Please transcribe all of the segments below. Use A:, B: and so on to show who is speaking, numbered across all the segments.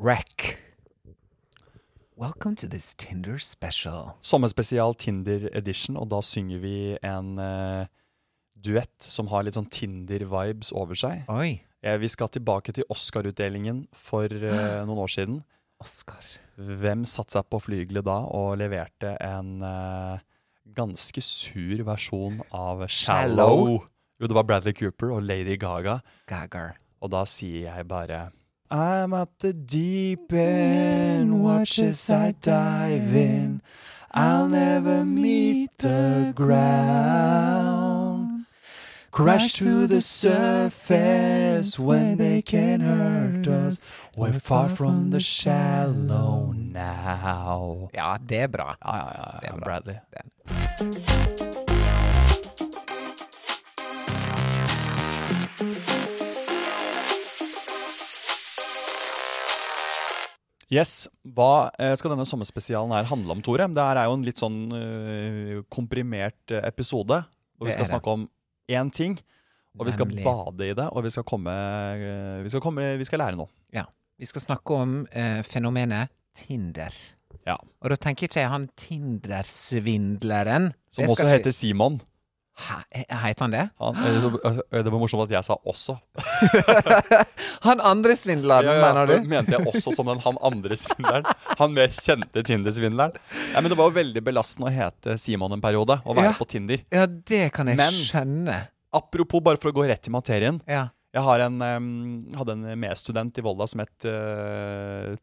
A: Wreck. Welcome to this Tinder special.
B: Sommerspesial Tinder edition, og da synger vi en eh, duett som har litt sånn Tinder-vibes over seg.
A: Oi,
B: Eh, vi skal tilbake til Oscar-utdelingen for eh, noen år siden.
A: Oscar.
B: Hvem satte seg på flygelet da og leverte en eh, ganske sur versjon av Shallow?
A: Shallow?
B: Jo, det var Bradley Cooper og Lady Gaga,
A: Gagar.
B: og da sier jeg bare I'm at the deep end, watch as I dive in. I'll never meet the ground. Crash to the surface when they can hurt us. We're far from the shallow now.
A: Ja, det er bra.
B: Ja, ja, ja,
A: Det er
B: ja
A: bra.
B: Bradley. Yes, Hva eh, skal denne sommerspesialen her handle om, Tore? Det her er jo en litt sånn eh, komprimert eh, episode. Hvor vi
A: Det
B: skal
A: er det.
B: snakke om én ting, og vi skal
A: Nemlig.
B: bade i det. Og vi skal komme, eh, vi skal, komme vi skal lære noe.
A: Ja. Vi skal snakke om eh, fenomenet Tinder.
B: Ja.
A: Og da tenker ikke jeg han Tinder-svindleren.
B: Som
A: Det
B: også
A: skal ikke
B: heter Simon.
A: vi- Hæ? Heter han det?
B: Han, eller så, eh, det var morsomt at jeg sa 'også'.
A: Han andre svindleren,
B: Ja, ja,
A: mener
B: men
A: du?
B: Mente jeg også som den han andre svindleren. Han mer kjente Tinder-svindleren. Nei, men Det var jo veldig belastende å hete Simon en periode, og være
A: Ja.
B: på Tinder.
A: Ja, det kan jeg
B: Men-
A: skjønne.
B: Apropos, bare for å gå rett til materien.
A: Ja.
B: Jeg har en, em, hadde en medstudent i Volda som het eh,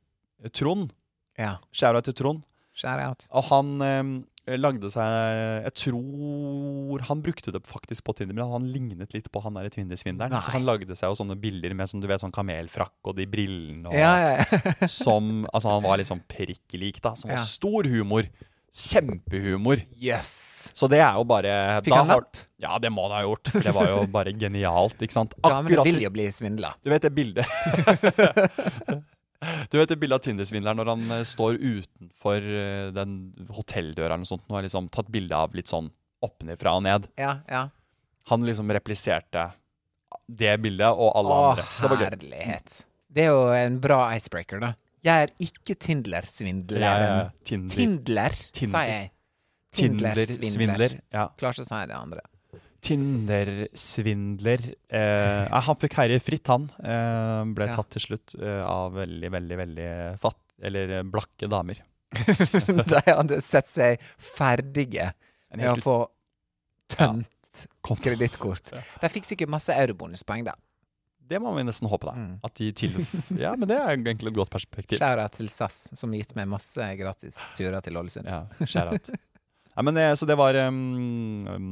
B: Trond.
A: ja.
B: Skjæra til Trond.
A: Share out.
B: Og han em, lagde seg Jeg tror han brukte det faktisk på Tinder, men han lignet litt på han der Tinder-svindleren. Så
A: Nei.
B: han lagde seg jo sånne bilder med sånn, du vet, sånn kamelfrakk og de brillene og
A: Ja, ja.
B: som Altså, han var litt sånn prikkelik, da. Som var
A: Ja.
B: stor humor. Kjempehumor.
A: Yes.
B: Så det er jo bare
A: Fikk
B: da
A: han
B: har-
A: lapp?
B: Ja, det må han ha gjort. For det var jo bare genialt, ikke sant?
A: Damene
B: Akkurat
A: vil jo bli svindla.
B: Du vet det bildet Du vet det bildet av Tinder-svindleren når han eh, står utenfor eh, den hotelldøra eller noe sånt og har liksom tatt bilde av litt sånn oppnedfra og ned.
A: Ja, ja.
B: Han liksom repliserte det bildet og alle
A: Å,
B: andre. Så det var gøy.
A: herlighet. Det er jo en bra icebreaker, da. Jeg er ikke Tindler-svindleren.
B: Ja, ja, ja. eh, Tinder.
A: Tindler,
B: Tinder.
A: sa jeg.
B: Tinder-svindler. Ja.
A: Klarer ikke å si det andre.
B: Tinder-svindler. Eh, nei, han fikk herje fritt, han. Eh, ble
A: Ja.
B: tatt til slutt eh, av veldig, veldig veldig fatt, eller eh, blakke damer.
A: De hadde sett seg ferdige
B: En
A: med å
B: helt
A: få tømt
B: konto.
A: kredittkort. De fikk sikkert masse eurobonuspoeng, da.
B: Det må vi nesten håpe, da.
A: Mm.
B: At de til... Ja, men det er egentlig et godt perspektiv.
A: Skjæra til SAS, som gitt meg masse gratis turer til Ålesund.
B: Ja, skjær out. Nei, men det, så det var um, um,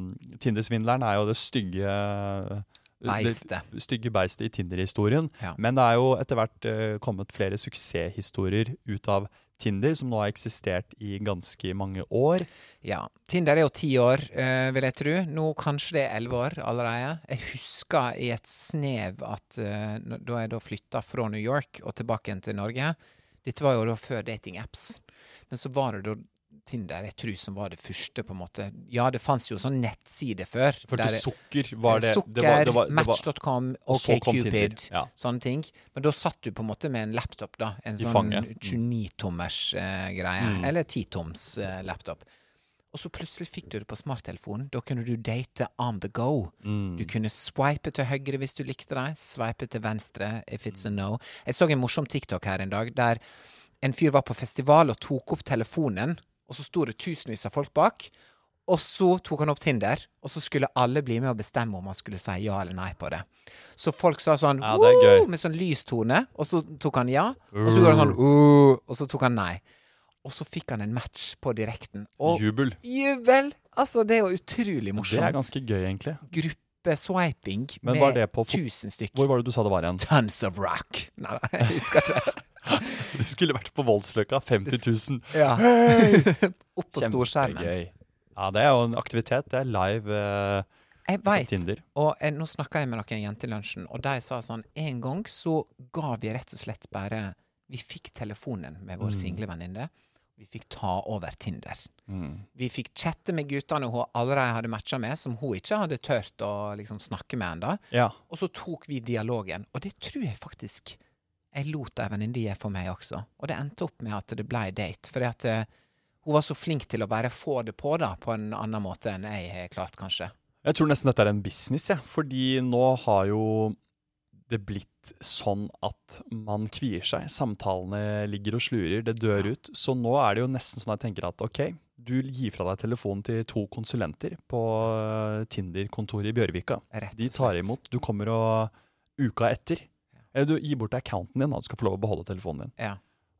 B: Tinder-svindleren er jo det stygge eh,
A: Beistet.
B: det Stygge beistet i Tinder-historien.
A: Ja.
B: Men det er jo etter hvert eh, kommet flere suksesshistorier ut av Tinder, som nå har eksistert i ganske mange år.
A: Ja. Tinder er jo ti år, eh, vil jeg tro. Nå kanskje det er elleve år allerede. Jeg husker i et snev at eh, n- da jeg da flytta fra New York og tilbake igjen til Norge Dette var jo da før datingapps. Men så var det da Tinder jeg tror som var det første, på en måte. Ja, det fanns jo sånn nettside før.
B: For
A: der-
B: til sukker var det
A: Sukker,
B: det var, det var, det var,
A: Match.com,
B: Og så kom Tinder,
A: OkCupid,
B: ja.
A: sånne ting. Men da satt du på en måte med en laptop, da. En
B: I
A: sånn
B: fanget. Mm.
A: 29-tommers eh, greie. Eller 10-toms eh, laptop. Og så plutselig fikk du det på smarttelefonen. Da kunne du date on the go.
B: Mm.
A: Du kunne swipe til høyre hvis du likte det, swipe til venstre if it's a no. Jeg så en morsom TikTok her en dag der en fyr var på festival og tok opp telefonen, og så sto det tusenvis av folk bak. Og så tok han opp Tinder, og så skulle alle bli med og bestemme om han skulle si ja eller nei på det. Så folk sa sånn
B: Ja, det er gøy.
A: «Woo!» med sånn lystone, og så tok han ja, og så gjorde han sånn «Woo!» og så tok han nei. Og så fikk han en match på direkten. Og
B: jubel.
A: jubel! Altså, det er jo utrolig
B: Det
A: morsomt.
B: er ganske gøy, egentlig.
A: gruppeswiping
B: Men var
A: med
B: det på fot-
A: tusen stykk.
B: Hvor var det du sa det var igjen?
A: Tons of rock. Nei da, jeg husker ikke.
B: Det skulle vært på Voldsløkka. 50 000.
A: Ja. Opp på storskjermen.
B: Kjempegøy. Ja, det er jo en aktivitet. Det er live eh,
A: Jeg
B: altså
A: veit
B: Tinder.
A: Og eh, nå snakka jeg med noen jenter i lunsjen, og de sa sånn En gang så ga vi rett og slett bare Vi fikk telefonen med
B: Mm.
A: vår single venninne. Vi fikk ta over Tinder.
B: Mm.
A: Vi fikk chatte med guttene hun allerede hadde matcha med, som hun ikke hadde turt å liksom snakke med ennå.
B: Ja.
A: Og så tok vi dialogen, og det tror jeg faktisk jeg lot ei venninne gjøre for meg også. Og det endte opp med at det ble date, fordi at eh, hun var så flink til å bare få det på, da, på en annen måte enn jeg har klart, kanskje.
B: Jeg tror nesten dette er en business, jeg. Fordi nå har jo det blitt sånn at man kvier seg. Samtalene ligger og slurer, det dør ut. Så nå er det jo nesten sånn jeg tenker at ok, du gir fra deg telefonen til to konsulenter på eh, Tinder-kontoret i Bjørvika.
A: Rett og
B: De tar
A: slett.
B: imot. Du kommer og uka etter. Eller du gir bort accounten din, da. Du skal få lov å beholde telefonen din.
A: Ja.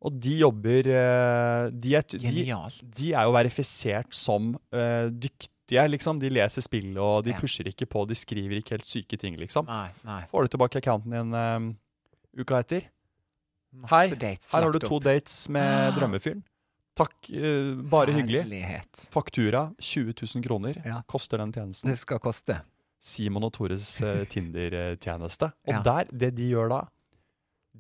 B: Og de jobber eh, de er, de,
A: Genialt.
B: de er jo verifisert som eh, dyktige, liksom. De leser spill, og de
A: Ja.
B: pusher ikke på, de skriver ikke helt syke ting, liksom.
A: Nei, nei.
B: Får du tilbake accounten din eh, uka etter? Hei,
A: Masse dates
B: her har du
A: lagt
B: to
A: opp. Ah.
B: dates med drømmefyren. Takk, eh, bare hyggelig.
A: Herlighet.
B: Faktura 20 000 kroner
A: Ja.
B: koster den tjenesten.
A: Det skal koste.
B: Simon og Tores eh, Tinder-tjeneste. Og
A: Ja.
B: der, det de gjør da,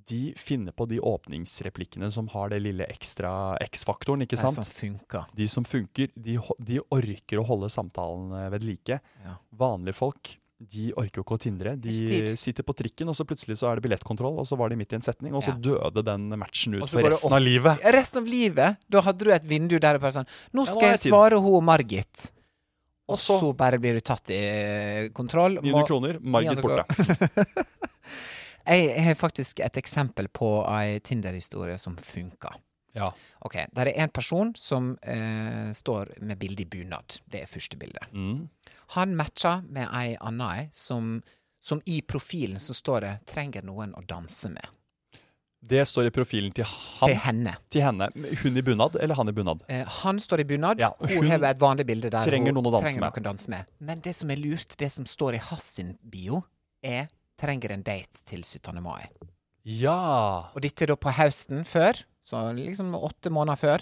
B: de finner på de åpningsreplikkene som har det lille ekstra X-faktoren, ikke
A: Det
B: sant?
A: som sånn funker.
B: De som funker, de, ho- de orker å holde samtalen eh, ved like.
A: Ja.
B: Vanlige folk de orker jo ikke å tindre. De
A: Just it.
B: sitter på trikken, og så plutselig så er det billettkontroll, og så var de midt i en setning, og så
A: Ja.
B: døde den matchen ut
A: Og så
B: for
A: bare
B: resten
A: opp-
B: av livet.
A: Resten av livet, da hadde du et vindu der det bare sånn
B: Ja,
A: Nå
B: nå
A: skal
B: har
A: jeg
B: jeg tid.
A: svare hun Margit. Og
B: Og så-
A: så bare blir du tatt i eh, kontroll.
B: 900 kroner, Margit
A: 900
B: borte.
A: Jeg jeg har faktisk et eksempel på ei Tinder-historie som funker.
B: Ja.
A: Ok, Der er en person som eh, står med bilde i bunad. Det er første bildet.
B: Mm.
A: Han matcha med ei anna ei som, som i profilen så står det 'trenger noen å danse med'.
B: Det står i profilen til han,
A: Til henne.
B: til henne. Hun i bunad, eller han i bunad?
A: Eh, han står i bunad.
B: Ja,
A: hun
B: hun
A: har et vanlig bilde der
B: trenger
A: hun
B: noen å danse
A: trenger
B: med.
A: noen å danse med. Men det som er lurt, det som står i hans sin bio, er 'trenger en date til 17. mai'.
B: Ja!
A: Og dette er da på høsten før, så liksom åtte måneder før.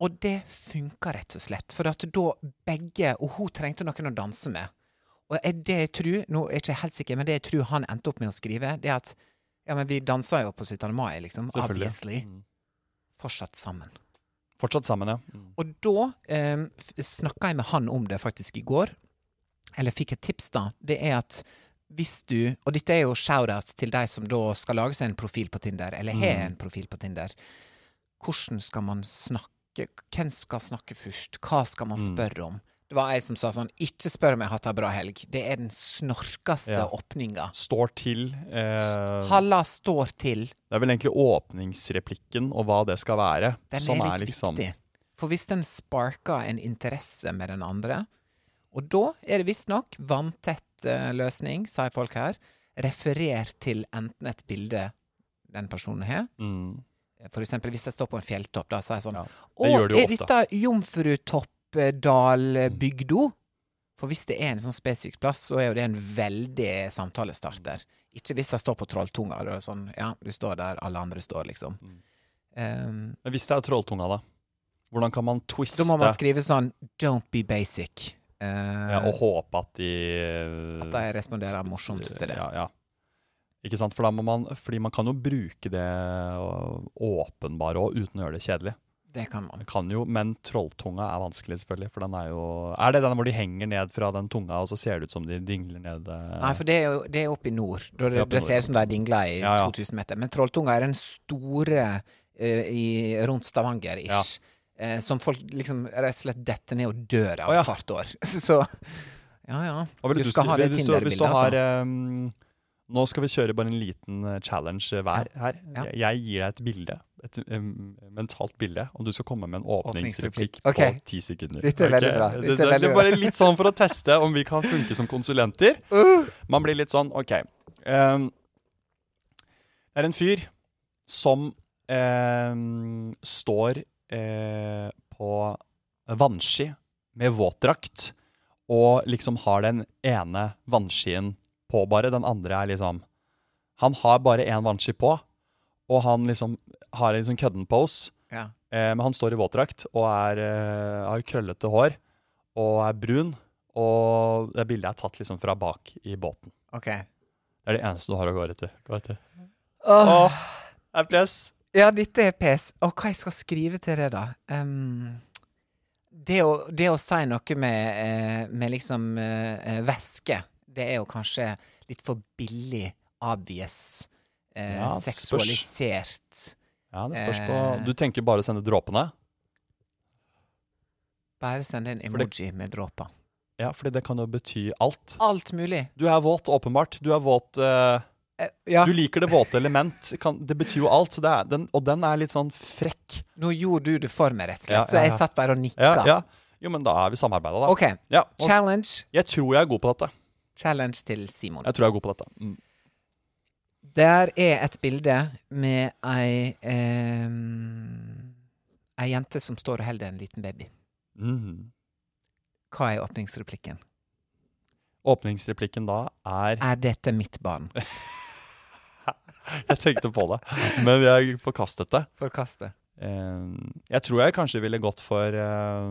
A: Og det funka rett og slett, for at da begge Og hun trengte noen å danse med. Og er det jeg tror, nå er jeg ikke helt sikker, men det jeg tror han endte opp med å skrive, det er at ja, men vi dansa jo på 17. mai, liksom.
B: Selvfølgelig.
A: Obviously.
B: Mm.
A: Fortsatt sammen.
B: Fortsatt sammen, ja. Mm.
A: Og da eh, snakka jeg med han om det faktisk i går, eller fikk et tips, da. Det er at hvis du Og dette er jo shout-out til de som da skal lage seg en profil på Tinder, eller har en profil på Tinder. Hvordan skal man snakke? Hvem skal snakke først? Hva skal man spørre om? Det var ei som sa sånn Ikke spør om jeg har hatt ei bra helg. Det er den snorkeste
B: Ja.
A: åpninga.
B: Står til eh,
A: Halla står til.
B: Det er vel egentlig åpningsreplikken og hva det skal være,
A: Den
B: som
A: er litt
B: liksom
A: viktig. For hvis den sparker en interesse med den andre, og da er det visstnok vanntett eh, løsning, sier folk her, referer til enten et bilde den personen har,
B: mm.
A: for eksempel hvis jeg står på en fjelltopp, da sier jeg sånn
B: Ja,
A: Å,
B: gjør du jo
A: er
B: ofte.»
A: dette Jomfrutoppdal-bygda? For hvis det er en sånn spesifikk plass, så er jo det en veldig samtalestarter. Ikke hvis jeg står på Trolltunga, da er det sånn Ja, du står der alle andre står, liksom.
B: Mm.
A: Um,
B: Men hvis det er trolltunga, da? Hvordan kan man twiste
A: Da må man skrive sånn Don't be basic. Eh,
B: ja, og håpe at de eh,
A: at de responderer morsomt til det.
B: Ja, ja. Ikke sant? For da må man, fordi man kan jo bruke det øh, åpenbare òg, uten å gjøre det kjedelig.
A: Det kan man.
B: Man kan jo, Men trolltunga er vanskelig, selvfølgelig. For den er jo Er det den hvor de henger ned fra den tunga, og så ser det ut som de dingler ned eh,
A: Nei, for det er jo det er oppe i nord. Da
B: Det er
A: det,
B: oppe i
A: det
B: nord,
A: ser ut som de dingler i
B: Ja, ja.
A: 2000 meter. Men Trolltunga er den store eh, i, rundt Stavanger-ish.
B: Ja.
A: eh, som folk liksom rett og slett detter ned og dør av
B: Å, ja.
A: hvert år. Så ja, ja.
B: Hva ville
A: Du skal
B: skri-
A: ha det
B: hvis du- Hvis du
A: Tinder-bildet, altså.
B: har ehm, Nå skal vi kjøre bare en liten eh, challenge eh, hver her.
A: Ja.
B: Jeg, jeg gir deg et bilde, et em, mentalt bilde, og du skal komme med en åpningsreplikk
A: Åpningsreplikk. Ok.
B: på ti sekunder.
A: Dette er
B: Ok?
A: veldig bra.
B: Det,
A: Dette
B: det,
A: er
B: det
A: veldig
B: er
A: bra.
B: bare litt sånn for å teste om vi kan funke som konsulenter.
A: Uh.
B: Man blir litt sånn OK. ehm, det er en fyr som ehm, står eh, på vannski med våtdrakt og liksom har den ene vannskien på bare. Den andre er liksom Han har bare én vannski på, og han liksom har en sånn kødden pose.
A: Ja.
B: Eh, men han står i våtdrakt og er, eh, har krøllete hår og er brun. Og det bildet er tatt liksom fra bak i båten.
A: OK.
B: Det er det eneste du har å gå etter. Gå etter. Åh, jeg er press.
A: Ja, dette er pes. Og hva jeg skal skrive til det, da? Ehm, det, å, det å si noe med, eh, med liksom eh, eh, væske, det er jo kanskje litt for billig obvious. Eh,
B: Ja, det spørs.
A: seksualisert.
B: Ja, det spørs på
A: Eh.
B: Du tenker bare å sende dråpene?
A: Bare send en
B: For det-
A: emoji med dråper.
B: Ja, fordi det kan jo bety alt.
A: Alt mulig.
B: Du er våt, åpenbart. Du er våt eh,
A: Eh, ja,
B: Du liker det våte element. Kan, det betyr jo alt. Så det er, den, og den er litt sånn frekk.
A: nå gjorde du det for meg, rett og slett.
B: Ja, ja,
A: Så jeg
B: ja.
A: satt bare og nikka.
B: Ja, ja. Jo, men da er vi samarbeida, da.
A: OK.
B: Ja, og
A: Challenge.
B: jeg tror jeg er god på dette.
A: Challenge til Simon.
B: Jeg tror jeg er god på dette. Mm.
A: Der er et bilde med ei ehm, Ei jente som står og holder en liten baby.
B: Mhm.
A: Hva er åpningsreplikken?
B: Åpningsreplikken da er
A: Er dette mitt barn?
B: Jeg tenkte på det, men jeg forkastet det.
A: Forkaste.
B: Eh, jeg tror jeg kanskje ville gått for eh,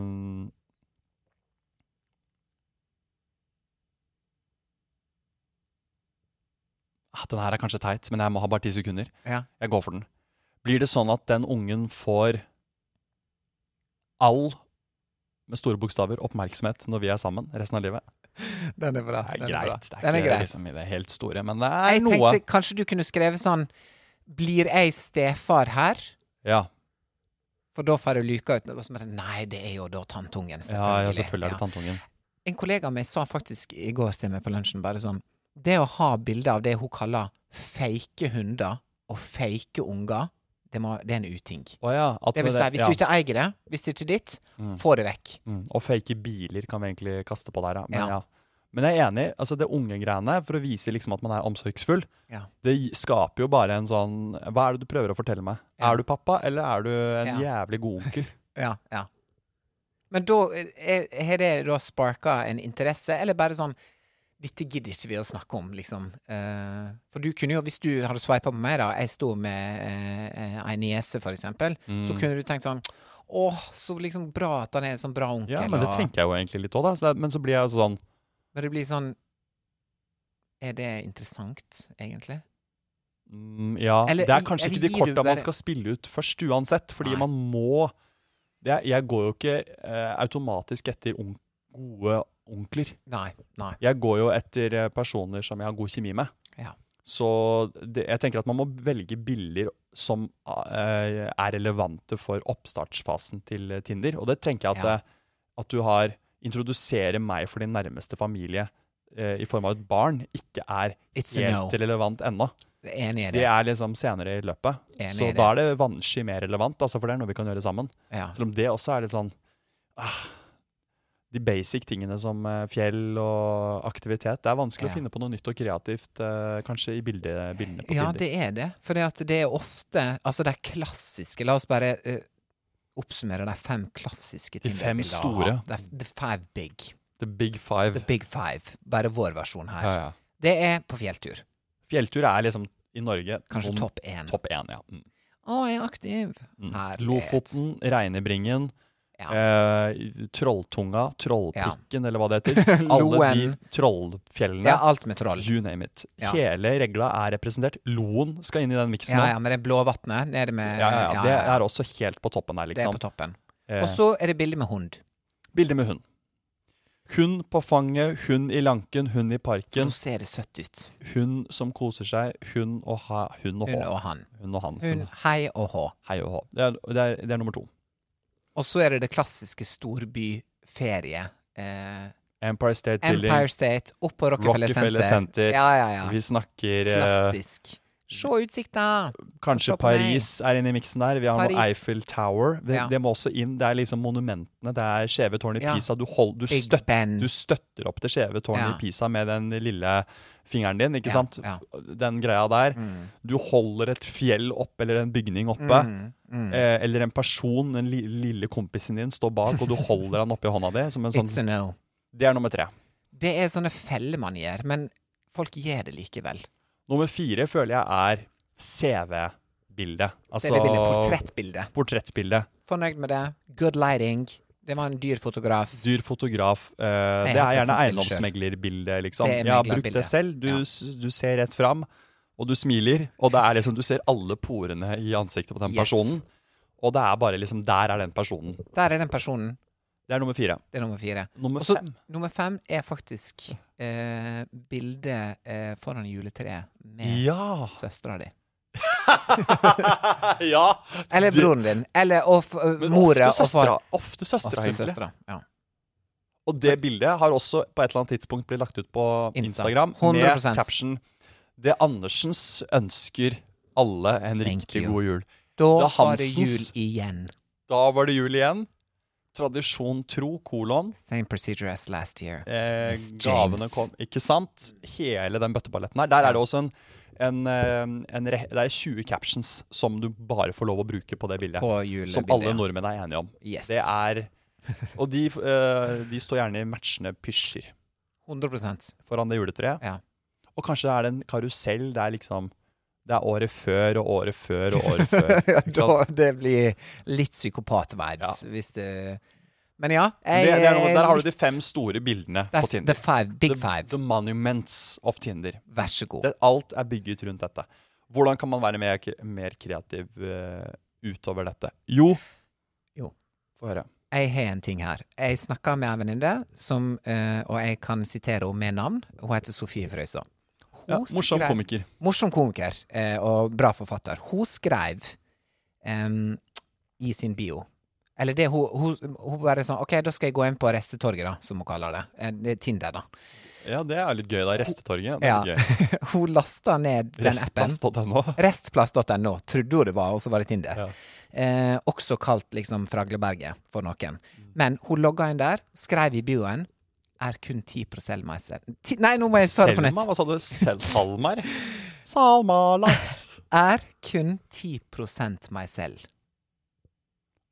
B: ah, Den her er kanskje teit, men jeg må ha bare ti sekunder.
A: Ja.
B: Jeg går for den. Blir det sånn at den ungen får all, med store bokstaver, oppmerksomhet når vi er sammen resten av livet?
A: Den er bra.
B: Det er
A: den bra.
B: greit. Det er
A: Den
B: ikke
A: er greit.
B: Liksom, i det helt store, men det er
A: Jeg
B: noe.
A: tenkte kanskje du kunne skrevet sånn Blir jeg stefar her?
B: Ja,
A: For da får jeg luka ut. Og så bare, Nei, det er jo da tanntungen.
B: ja, ja, selvfølgelig er det tantungen.
A: En kollega av meg sa faktisk i går til meg på lunsjen bare sånn Det å ha bilder av det hun kaller fake hunder og fake unger, det, må, det er en uting.
B: Å ja, at
A: Det vil
B: med
A: si, hvis
B: ja.
A: du ikke eier det, hvis det ikke er ditt,
B: Mm.
A: få det vekk.
B: Mm. Og fake biler kan vi egentlig kaste på der, ja. Men,
A: Ja.
B: ja. Men jeg er enig. altså Det unge greiene, for å vise liksom at man er omsorgsfull,
A: Ja.
B: det gi- skaper jo bare en sånn Hva er det du prøver å fortelle meg?
A: Ja.
B: Er du pappa, eller er du en
A: Ja.
B: jævlig god onkel?
A: Ja, ja. Men da er- har det da sparka en interesse, eller bare sånn Dette gidder ikke vi å snakke om, liksom. Eh, for du kunne jo, hvis du hadde sveipa på meg, da, jeg sto med eh, eh, ei niese, for eksempel,
B: Mm.
A: så kunne du tenkt sånn Åh, så liksom bra at han er en sånn bra onkel.
B: Ja, men det
A: og-
B: tenker jeg jo egentlig litt òg, da. Så det, men så blir jeg sånn
A: men det blir sånn Er det interessant, egentlig?
B: mm, Ja,
A: Eller
B: det er
A: gi-
B: kanskje
A: eller
B: ikke de
A: gir du
B: korta
A: bare-
B: man skal spille ut først, uansett. Fordi
A: Nei.
B: man må jeg, jeg går jo ikke eh, automatisk etter on gode onkler.
A: Nei. Nei.
B: Jeg går jo etter eh, personer som jeg har god kjemi med.
A: Ja.
B: Så det, jeg tenker at man må velge bilder som eh, er relevante for oppstartsfasen til eh, Tinder. Og det tenker jeg at,
A: Ja.
B: eh, at du har Introdusere meg for din nærmeste familie eh, i form av et barn ikke er
A: It's a no.
B: helt relevant ennå.
A: Enig i
B: Det
A: det.
B: er liksom senere i løpet.
A: Enig i
B: Så
A: det.
B: da er det vannski mer relevant, altså, for det er noe vi kan gjøre sammen.
A: Ja.
B: Selv om det også er litt sånn ah, De basic tingene som eh, fjell og aktivitet. Det er vanskelig
A: Ja.
B: å finne på noe nytt og kreativt, eh, kanskje i bilde, bildene på
A: Ja,
B: Tinder.
A: det er det. For det, at det er ofte Altså, de klassiske La oss bare eh, oppsummere de fem klassiske
B: De fem
A: Tinder-bildene.
B: store.
A: The, the five big.
B: The big
A: The
B: five.
A: big five. Bare vår versjon her.
B: Ja, ja.
A: Det er på fjelltur.
B: Fjelltur er liksom i Norge
A: Kanskje
B: noen-
A: topp én.
B: topp én. ja. Mm.
A: Å, jeg er aktiv.
B: Mm.
A: Herlighet.
B: Lofoten, Reinebringen,
A: Ja.
B: eh, Trolltunga, Trollpikken, eller hva det heter. Alle de
A: Loen.
B: trollfjellene.
A: ja, alt med troll.
B: You name it.
A: Ja.
B: Hele regla er representert. Loen skal inn i den miksen.
A: Ja,
B: nå.
A: ja, med det blå vannet nede med
B: ja, ja, ja. Det
A: Eh, ja.
B: er også helt på toppen der,
A: Det er
B: liksom.
A: på toppen.
B: Eh,
A: Og så er det bilde med hund.
B: Bilde med hund. Hund på fanget, hund i lanken, hund i
A: Nå
B: parken.
A: ser det søtt ut.
B: Hund som koser seg, hund og, ha, hund og hå.
A: Hun og han.
B: Hund og han.
A: Hun, hei og hå.
B: Hei og hå. Det er, det, er, det er nummer to.
A: Og så er det det klassiske storbyferie. Eh,
B: Empire State
A: Empire
B: Building.
A: State, opp på Rockefeller,
B: Rockefeller Center.
A: Center. Ja, ja, ja.
B: Vi snakker eh,
A: Klassisk. Se utsikta!
B: Kanskje
A: Se på meg.
B: Paris er inne i miksen der. Vi har noe
A: Paris.
B: Eiffel Tower. Det,
A: Ja.
B: det må også inn. Det er liksom monumentene. Det er skjeve tårn i
A: Ja.
B: Pisa. Du, hold, du,
A: Big
B: støtter,
A: Ben.
B: du støtter opp det skjeve tårnet
A: Mm. Ja.
B: i Pisa med den lille fingeren din, ikke
A: Ja,
B: sant?
A: ja. Mm.
B: Den greia der. Du holder et fjell oppe, eller en bygning oppe.
A: Mm,
B: Eh, eller en person, den li, lille kompisen din, står bak, og du holder han oppi hånda di som en sånn
A: It's a no.
B: Det er nummer tre.
A: Det er sånne feller man gjør, men folk gjør det likevel.
B: Nummer fire føler jeg er CV-bildet. Altså
A: CV-bilde, portrettbilde.
B: portrettsbildet.
A: Fornøyd med det. Good lighting. Det var en dyr fotograf.
B: Dyr fotograf. eh, det
A: hatt
B: er gjerne
A: det som
B: eiendomsmeglerbildet, liksom.
A: Det er
B: Jeg har brukt
A: meglerbildet,
B: det selv. Du,
A: ja.
B: s- du ser rett fram, og du smiler. Og det er liksom, du ser alle porene i ansiktet på den
A: Yes.
B: personen. Og det er bare liksom Der er den personen.
A: Der er den personen.
B: Det er nummer fire.
A: Det er nummer fire.
B: Nummer
A: Og så
B: fem.
A: nummer fem er faktisk eh, bildet eh, foran juletreet med
B: Ja!
A: søstera di.
B: ja.
A: Eller
B: Det-
A: broren din. Eller og, f-
B: Men
A: mora
B: ofte
A: og far.
B: søstera. Ofte søstera,
A: Ofte
B: egentlig.
A: søstera. Ja.
B: Og det bildet har også på et eller annet tidspunkt blitt lagt ut på
A: Insta.
B: Instagram med
A: 100%.
B: caption 'Det Andersens ønsker alle en
A: Thank
B: riktig
A: you.
B: god jul'.
A: Da
B: Ja,
A: var det jul
B: Hansens.
A: igjen.
B: Da var det jul igjen. Tradisjon tro, kolon.
A: Same procedure as last year.
B: Eh,
A: Miss
B: gavene
A: James.
B: kom Ikke sant? Hele den bøtteballetten her. Der er det også en, en, eh, en re- Det er 20 captions som du bare får lov å bruke på det bildet.
A: På julebildet.
B: som alle
A: ja.
B: nordmenn er enige om.
A: Yes.
B: Det er Og de, eh, de står gjerne i matchende pysjer.
A: 100
B: foran det juletreet.
A: Ja.
B: Og kanskje det er en karusell det er liksom Det er året før og året før og året før. Ikke sant?
A: da, det blir litt psykopat-vibes, hvis det Men ja, jeg
B: Det, det er noe,
A: er
B: der har du de
A: litt-
B: fem store bildene
A: Det er
B: på
A: f- The
B: Tinder.
A: five, Big
B: The-
A: five.
B: The monuments of Tinder.
A: Vær så god.
B: Det, alt er bygget rundt dette. Hvordan kan man være mer, kre- mer kreativ eh, utover dette? Jo
A: Jo.
B: Få høre.
A: Jeg har en ting her. Jeg snakka med ei venninne, som, eh, og jeg kan sitere henne med navn. Hun heter Sofie Frøysaa. Hun
B: Ja, morsom
A: skrev-
B: komiker.
A: Morsom komiker eh, og bra forfatter. Hun skrev em, i sin bio Eller det hun, hun, hun bare sånn OK, da skal jeg gå inn på Restetorget, da, som hun kaller det. Eh, det er Tinder, da.
B: Ja, det er litt gøy, da. Restetorget. Det
A: Ja.
B: er litt gøy.
A: Hun lasta ned den appen.
B: Restplass.no.
A: Restplass.no trodde hun det var, og så var det Tinder.
B: Ja.
A: Eh, også kalt liksom Fragleberget for noen.
B: Mm.
A: Men hun logga inn der, skrev i bioen er kun 10 på Selmaiser. Ti- Nei, nå må jeg ta det på
B: Selma,
A: nytt.
B: hva sa du? Sel Salmar? Salmalaks.
A: Er kun 10 meg selv.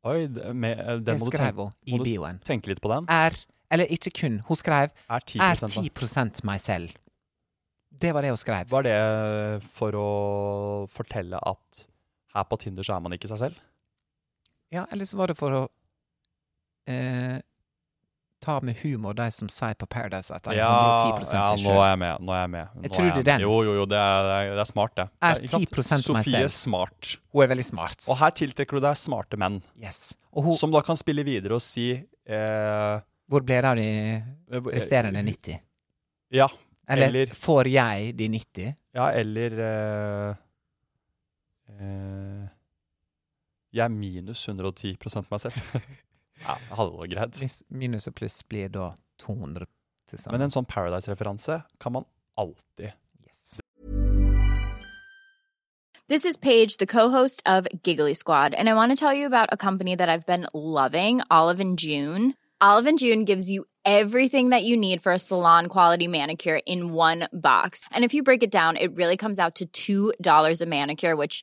B: Oi, det- med, eh, den
A: Det
B: må du
A: skrev
B: tenke,
A: hun i
B: må du
A: bioen.
B: tenke litt på den.
A: Er Eller ikke kun. Hun skrev
B: Er 10
A: er
B: da.
A: 10 meg selv. Det var det hun skrev.
B: Var det eh, for å fortelle at her på Tinder så er man ikke seg selv?
A: Ja, eller så var det for å eh, ta med humor de som sier på Paradise at de er 110 seg
B: ja nå
A: selv.
B: er jeg med. Nå er jeg med. Nå
A: Jeg tror
B: er
A: det er den.
B: Jo, jo, jo, det er, det er- det er smart, det.
A: Er
B: Det ikke sant?
A: 10% meg selv.
B: Sofie Smart.
A: Hun er veldig smart.
B: Og her tiltrekker du deg smarte menn,
A: Yes. Og hun,
B: som da kan spille videre og si eh,
A: hvor ble det av de resterende 90?
B: Ja.
A: Eller,
B: Eller-
A: får jeg de 90?
B: Ja, eller eh, eh, Jeg er minus 110 meg selv. ja, det hadde vært greit.
A: Hvis minus og pluss blir da 200 til
B: Men
A: sammen.
B: en sånn Paradise-referanse kan man alltid.
A: yes.
C: This is Paige, the co-host of Giggly Squad, and I want to tell you about a company that I've been loving, Olive and June. Olive and June gives you everything that you need for a salon quality manicure in one box. And if you break it down, it really comes out to $2 a manicure, which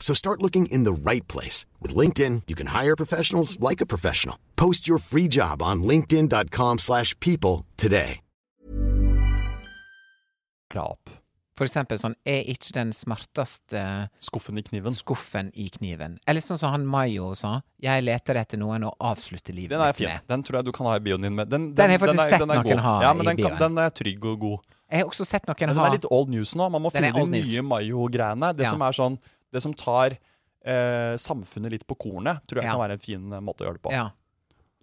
D: So start looking in the right place. With LinkedIn, you can hire professionals like a professional. Post your free job on linkedin.com/people slash people today.
B: Drap.
A: For eksempel sånn Er ikke den smarteste
B: Skuffen i kniven.
A: skuffen i kniven? Eller sånn som han Mayo sa. Jeg leter etter noen å avslutte livet
B: Den er
A: mitt
B: fin.
A: med.
B: Den tror jeg du kan ha i bioen din. Med. Den,
A: Den har jeg faktisk sett noen
B: god.
A: ha
B: ja, men
A: i
B: den,
A: bioen.
B: Kan, den er trygg og god.
A: Jeg har også sett noen
B: Men den
A: ha
B: er litt old news nå. Man må
A: Den er
B: finne de
A: old news.
B: nye mayo-greiene. Det
A: Ja.
B: som er sånn Det som tar eh, samfunnet litt på kornet, tror jeg
A: Ja.
B: kan være en fin eh, måte å gjøre det på.
A: ja.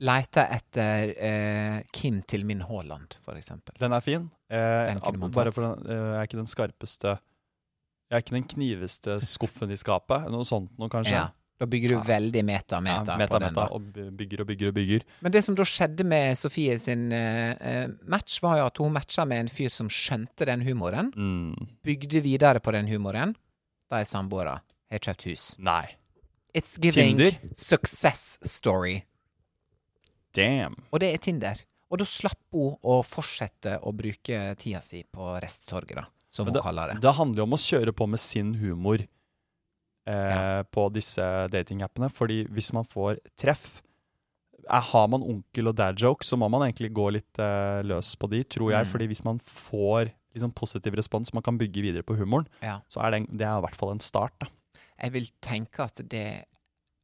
A: Leita etter eh, Kim til min Haaland, for eksempel.
B: Den er fin. Eh,
A: Den kunne man
B: bare
A: tatt.
B: for den, eh, jeg er ikke den skarpeste Jeg er ikke den kniveste skuffen i skapet. Noe sånt noe, kanskje.
A: Ja. Da bygger du veldig
B: Ja,
A: meta-meta.
B: meta,
A: på den,
B: meta,
A: da.
B: og by- bygger og bygger og bygger.
A: Men det som da skjedde med Sofie sin eh, eh, match, var jo at hun matcha med en fyr som skjønte den humoren,
B: Mm.
A: bygde videre på den humoren. De er samboere. Har kjøpt hus.
B: Nei.
A: It's giving
B: Tinder?
A: success story.
B: Damn.
A: Og det er Tinder. Og da slapp hun å fortsette å bruke tida si på resttorget, da, som
B: Men
A: hun
B: det,
A: kaller det.
B: det handler jo om å kjøre på med sin humor eh, på disse datingappene. Fordi hvis man får treff eh, Har man onkel og dad-jokes, så må man egentlig gå litt eh, løs på de, tror jeg.
A: Mm.
B: Fordi hvis man får liksom, positiv respons, man kan bygge videre på humoren,
A: Ja.
B: så er det, det er i hvert fall en start. Da.
A: Jeg vil tenke at det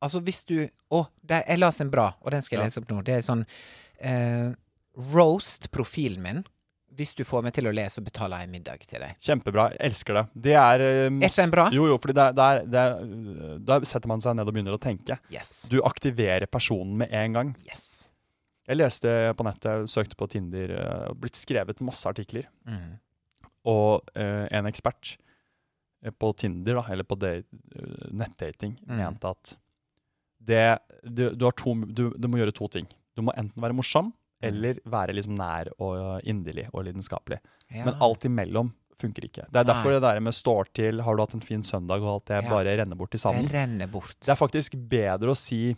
A: Altså, hvis du Å, der, jeg las en bra, og den skal jeg
B: Ja.
A: lese opp nå. Det er sånn eh, Roast profilen min hvis du får meg til å le, så betaler jeg middag til deg.
B: Kjempebra. jeg Elsker det. Det er eh, masse-
A: den bra?
B: Jo, jo, fordi det er- det er- det er- da setter man seg ned og begynner å tenke.
A: Yes.
B: Du aktiverer personen med en gang.
A: Yes.
B: Jeg leste på nettet, søkte på Tinder, eh, og blitt skrevet masse artikler.
A: Mm.
B: Og eh, en ekspert eh, på Tinder, da, eller på det- eh, nettdating,
A: Mm.
B: mente at det, du, du, har to, du, du må gjøre to ting. Du må enten være morsom,
A: Mm.
B: eller være liksom nær og inderlig og lidenskapelig.
A: Ja.
B: Men alt imellom funker ikke. Det er
A: Nei.
B: derfor det der med står til, har du hatt en fin søndag og alt det
A: Ja.
B: bare renner bort i
A: det
B: sanden.
A: renner bort.
B: Det er faktisk bedre å si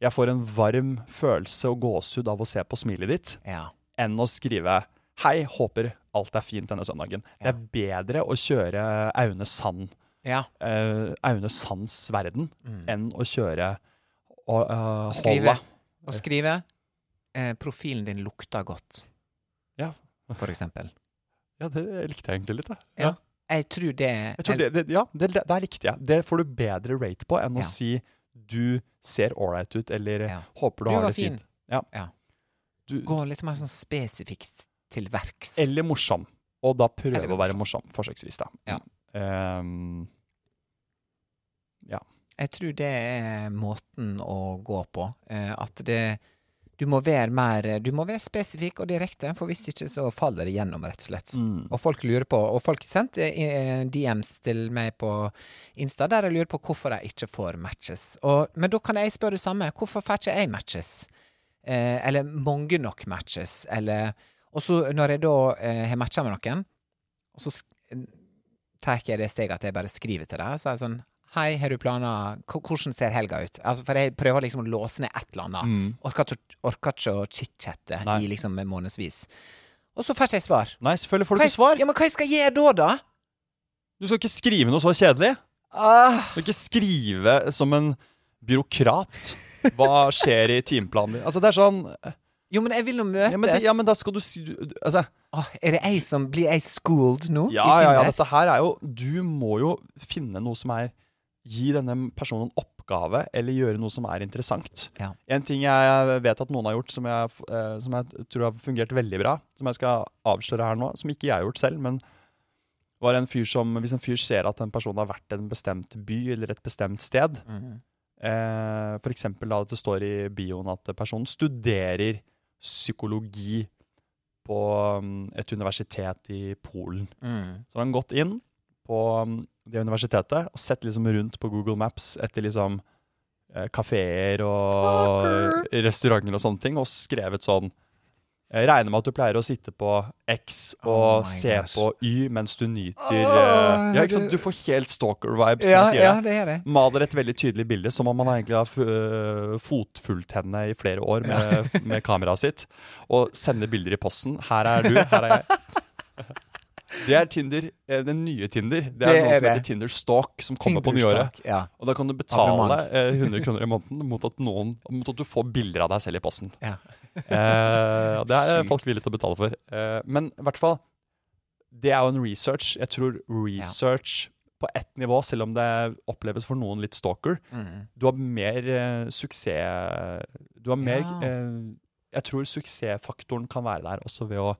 B: jeg får en varm følelse og gåsehud av å se på smilet ditt,
A: ja.
B: enn å skrive Hei, håper alt er fint denne søndagen. Det er bedre å kjøre Aune Sand,
A: ja.
B: eh, Aune Sands verden, enn å kjøre og, eh,
A: Mm. Å skrive,
B: Holla.
A: å skrive eh, 'Profilen din lukter godt',
B: Ja.
A: for eksempel.
B: ja, det likte jeg egentlig litt. Jeg.
A: Ja. Jeg tror det
B: Jeg tror det, det, ja, det, det, der likte jeg. Det får du bedre rate på enn
A: Ja.
B: å si du ser ålreit ut, eller
A: Ja.
B: håper du,
A: Du
B: har
A: var
B: det fint.
A: fin.
B: Ja.
A: Ja.
B: Du,
A: Gå litt mer sånn spesifikt til verks.
B: eller morsom. Og da prøve
A: Eller
B: å være morsom, forsøksvis, da.
A: Ja.
B: Ehm,
A: Jeg tror det er måten å gå på. Eh, at det Du må være mer Du må være spesifikk og direkte, for hvis ikke så faller det gjennom, rett og slett.
B: Mm.
A: Og folk lurer på Og folk sendte eh, DMs til meg på Insta der jeg lurer på hvorfor jeg ikke får matches. Og, men da kan jeg spørre det samme. Hvorfor får ikke jeg matches? Eh, eller mange nok matches, eller Og så når jeg da eh, har matcha med noen, og så sk- tar jeg det steget at jeg bare skriver til deg, så er jeg sånn Hei, har du planer K- Hvordan ser helga ut? Altså, for jeg prøver liksom å låse ned et eller annet. Orker ikke- orker ikke å
B: Mm.
A: chit-chatte
B: Nei.
A: i liksom månedsvis. Og så får ikke jeg svar.
B: Nei, selvfølgelig får
A: Hva
B: du
A: jeg-
B: ikke svar!
A: Ja, men hva jeg skal jeg gjøre da, da?
B: Du skal ikke skrive noe så kjedelig.
A: Ah.
B: Du skal ikke skrive som en byråkrat. Hva skjer i timeplanen din? Altså, det er sånn
A: Jo, men jeg vil nå møtes.
B: ja men, det, ja, men da skal du si du- du- Altså,
A: Åh, er det jeg som blir jeg schooled nå?
B: ja,
A: i
B: ja, ja,
A: Tinder?
B: dette her er jo Du må jo finne noe som er Gi denne personen en oppgave, eller gjøre noe som er interessant.
A: Ja.
B: En ting jeg vet at noen har gjort som jeg, f- eh, som jeg tror har fungert veldig bra, som jeg skal avsløre her nå, som ikke jeg har gjort selv, men var en fyr som, hvis en fyr ser at en person har vært i en bestemt by eller et bestemt sted,
A: Mhm.
B: eh, for eksempel da at det står i bioen at personen studerer psykologi på mm, et universitet i Polen.
A: Mm.
B: Så har han gått inn på mm, det universitetet og sett liksom rundt på Google Maps etter liksom eh, kafeer og restauranter og sånne ting, og skrevet sånn jeg regner med at du pleier å sitte på X
A: Oh
B: og
A: my
B: se
A: gosh.
B: på Y mens du nyter
A: Åh,
B: eh, Ja, ikke sant? Du
A: det-
B: får helt stalker-vibes
A: Ja,
B: når jeg sier
A: ja,
B: det
A: det er det.
B: maler et veldig tydelig bilde, som om han egentlig har øh, fotfulgt henne i flere år med, med kameraet sitt, og sender bilder i posten. Her er du, her er jeg. Det er Tinder, eh, den nye Tinder. Det er
A: Det
B: noe
A: er
B: som
A: det.
B: heter Tinder Stalk, som kommer på nyåret.
A: Tinderstalk, Ja.
B: Og da kan du betale
A: Abonnement.
B: eh, 100 kroner i måneden mot at, noen, mot at du får bilder av deg selv i posten.
A: Ja.
B: Eh, og det er
A: Sjukt.
B: folk villige til å betale for. Eh, men i hvert fall, det er jo en research. Jeg tror research på ett nivå, selv om det oppleves for noen litt stalker,
A: Mm.
B: du har mer eh, suksess Du har mer
A: Ja.
B: eh, Jeg tror suksessfaktoren kan være der også ved å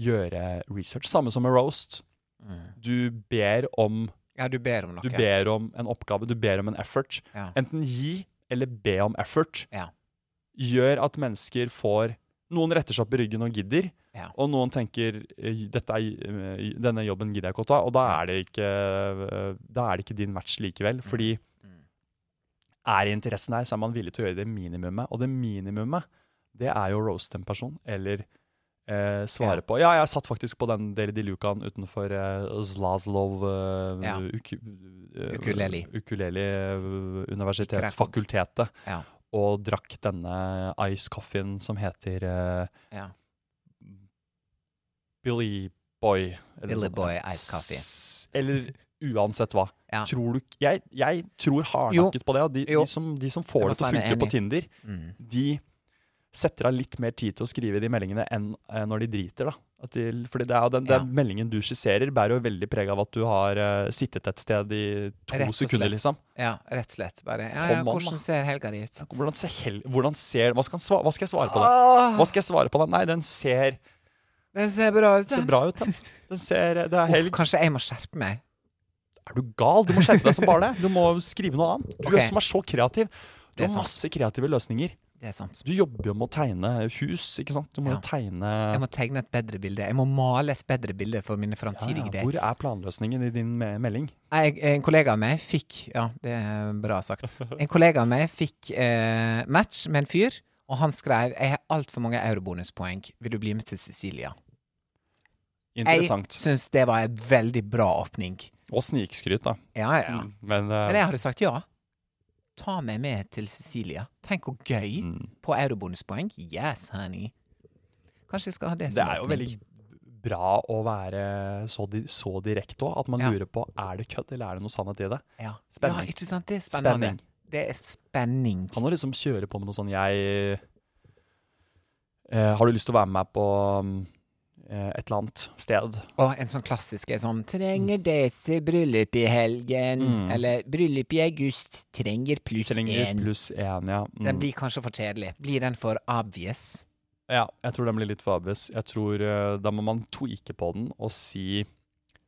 B: gjøre research. Samme som med roast.
A: Mm.
B: Du ber om
A: Ja, du ber om noe.
B: Du ber om en oppgave, du ber om en effort.
A: Ja.
B: Enten gi eller be om effort
A: Ja.
B: gjør at mennesker får Noen retter seg opp i ryggen og gidder,
A: Ja.
B: og noen tenker eh, dette er, eh, denne jobben gidder jeg ikke å ta, og da er det ikke, eh, da er det ikke din match
A: Mm.
B: likevel. Fordi er interessen der, så er man villig til å gjøre det minimumet. Og det minimumet, det er jo å roaste en person, eller eh, svare
A: Ja.
B: på Ja, jeg satt faktisk på den Deli de Lucaen utenfor eh, Zlazlov eh,
A: Ja.
B: uk eh,
A: Ukuleli.
B: Ukuleli, eh, universitet,
A: Krefeld.
B: fakultetet
A: Ja.
B: og drakk denne ice coffeen som heter eh,
A: Ja.
B: Billy Boy. eller noe
A: Billy
B: sånt.
A: Boy Ice Coffee.
B: S- Eller uansett hva.
A: Ja.
B: Tror du, k- jeg, jeg tror hardnakket på det. og De,
A: Jo.
B: de, som, de som får
A: Jeg må
B: det til å
A: si meg
B: funke på
A: enig.
B: Tinder,
A: Mm.
B: de setter av litt mer tid til å skrive de meldingene enn eh, når de driter. da. At de, fordi det er jo den,
A: Ja.
B: den meldingen du skisserer, bærer jo veldig preg av at du har eh, sittet et sted i to
A: Rett og
B: sekunder,
A: slett.
B: liksom.
A: Ja, rett og slett. Bare ja,
B: Kom
A: ja,
B: an, da.
A: Hvordan ser helga di ut?
B: Hvordan ser, hel hvordan ser hva, skal han sva- hva skal jeg svare på
A: Ah.
B: den? Hva skal jeg svare på den? Nei, den ser,
A: Den ser bra ut,
B: ser bra ut. Den. Den ser, det er
A: Uff,
B: helg.
A: kanskje jeg må skjerpe meg.
B: Er du gal? Du må skjerpe deg som bare det. Du må skrive noe annet. Du
A: Ok.
B: som er så kreativ. Du
A: Det er
B: har
A: sant.
B: masse kreative løsninger.
A: Det er sant.
B: Du jobber jo med å tegne hus, ikke sant? Du må jo
A: Ja.
B: tegne
A: Jeg må tegne et bedre bilde. Jeg må male et bedre bilde for mine
B: Ja, ja.
A: framtidige
B: Ah, Hvor
A: dates.
B: er planløsningen i din me- melding?
A: Jeg, en kollega av meg fikk Ja, det er bra sagt. En kollega av meg fikk eh, match med en fyr, og han skrev 'Jeg har altfor mange eurobonuspoeng. Vil du bli med til Sicilia?' Jeg
B: Interessant.
A: syns det var en veldig bra åpning.
B: Og snikskryt, da.
A: Ja, ja.
B: Men, eh,
A: Men jeg hadde sagt ja. Ta meg med til Sicilia. Tenk hvor gøy.
B: Mm.
A: På eurobonuspoeng. Yes, honey. Kanskje jeg skal ha det
B: det
A: som
B: er jo veldig
A: åpning.
B: bra å være så, di så direkte òg, at man
A: Ja.
B: lurer på er det kødd eller er det noe sannhet i det.
A: ja.
B: Spenning.
A: Ja, ikke sant? Det er spennende.
B: Spenning.
A: Det er spenning.
B: Han må liksom kjøre på med noe sånn Jeg eh, Har du lyst til å være med meg på mm, eh, et eller annet sted?
A: Og en sånn klassisk er sånn
B: Mm.
A: Trenger date til bryllup i helgen. Eller bryllup i august. Trenger pluss
B: Trenger
A: én.
B: pluss én, ja.
A: Den
B: Mm.
A: blir kanskje for kjedelig. Blir den for obvious?
B: ja. Jeg tror den blir litt fabelaktig. Jeg tror eh, Da må man tweake på den og si